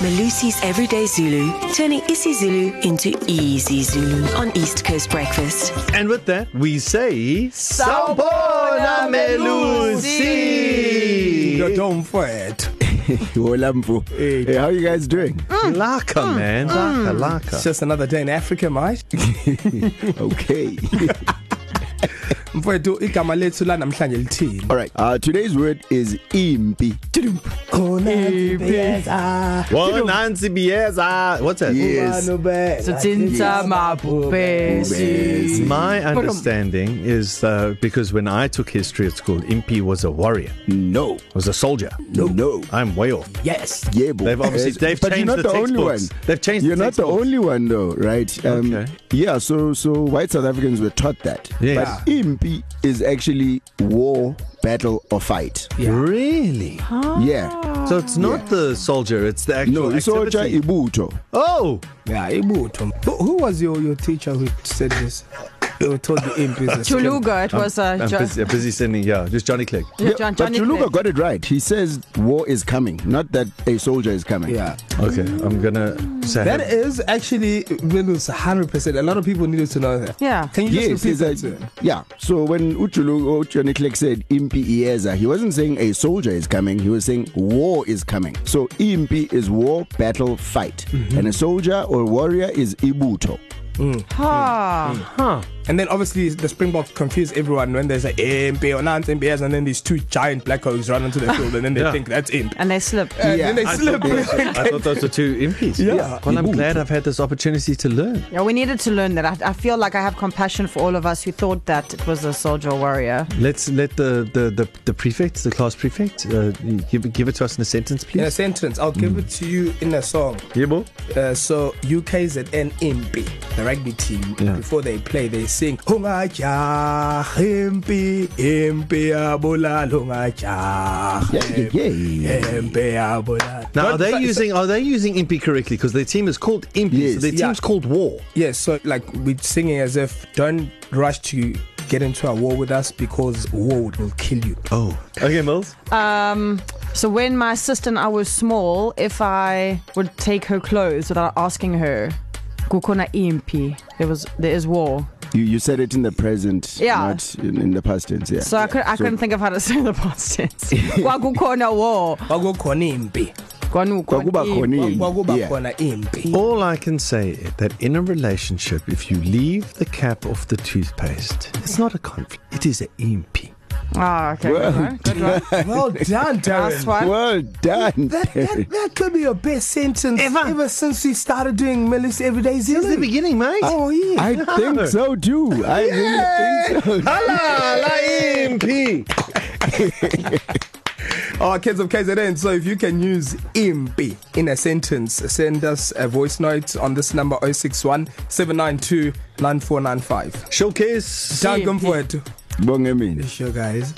Malusi's Everyday Zulu, turning isiZulu into easy Zulu on East Coast Breakfast. And with that, we say Sawubona, Melusi. Hola, Mvu. Hey, how are you guys doing? Laka, man. Laka, It's laka. just another day in Africa, mate. Okay. Mfowethu igama lethu la namhlanje lithini? All right. Uh, today's word is impi. Khona impesa. ah. Well, Nancy Bieza. What's that? Yes. Sithinta mabhubesi. My understanding is uh, because when I took history at school, Impy was a warrior, No. was a soldier. No. No. I'm way off. Yes. Yeah, boy. They've obviously- they've but changed you're not the the, only one. textbooks. They've changed the You're not the textbooks. only one, though, right? Um, Okay. Yeah. So, so white South Africans were taught that. Yes. But impi is actually war, battle, or fight. Yeah. Really? Ah. Yeah. So it's not yeah. the soldier, it's the actual No. Isocha activity. ibuto. Oh! Yeah, ibutho. Who, who was your your teacher who said this? Who told the impesa? Chuluga, it was a I'm jo- busy, busy sending, yeah, just Johnny Click. yeah, Yeah, John- Um, but Johnny Chuluka Clegg. got it right. He says war is coming, not that a soldier is coming. Yeah. Okay, I'm gonna say That is actually Windows 100%. A lot of people needed to know that. Yeah. Can you Yes, just repeat is that? that, to- yeah. So when Uchulu Johnny Clegg said Impi Ieza, he wasn't saying a soldier is coming, he was saying war is coming. So Impi is war, battle, fight. Mm-hmm. And a soldier or warrior is Ibuto. Mm. Ha. And then obviously the Springboks confuse everyone when there's an imp or not imp and then these two giant black holes run onto the field and then they Yeah. think that's imp. And they slip. And Yeah. then they I slip. I thought those were two impies. Yeah. Well, I'm Ibuto. glad I've had this opportunity to learn. Yeah, we needed to learn that. I, I feel like I have compassion for all of us who thought that it was a soldier warrior. Let's let the the the, the prefect, the class prefect, uh, give give it to us in a sentence, In a please. sentence, I'll give it to you in a song. Yebo. Uh, so UKZN Impi, the rugby team, Yeah. yeah. before they play, they sing Hungaja Impi Impi Abula Lungaja Yeah, yeah, yeah. yeah. Impi Abula. Now, are they so, using are they using impy correctly? Because their team is called impy. Yes. So Yes. their Yeah. team's called war. So, yeah, so like we're singing as if don't rush to get into a war with us because war will kill you. Oh. Okay, Mills. Um, so when my sister and I were small, if I would take her clothes without asking her, kukona impi. There was there is war. You, you said it in the present, Yeah. not in, in the past tense. Yeah. So I could I couldn't think of how to say the past tense. Kwakukona war. Kwakukhona impi. Kwakuba Kwakukona khona impi. Kwakuba Yeah. khona impi. All I can say is that in a relationship, if you leave the cap off the toothpaste, it's not a conflict. It is an impy. Ah, okay. Well Good one. Good one. Well done, Last Darren. one. Well done. That, that, that could be your best sentence ever, ever since we started doing Melissa Everyday Zero. It's the beginning, mate. Oh, yeah. I think so too. I really think so. Hala, la impy. Our Oh, kids of KZN. So if you can use impi in a sentence, send us a voice note on this number 061 792 9495. Showcase. Dangum for it. Bonge mina. Sure, guys.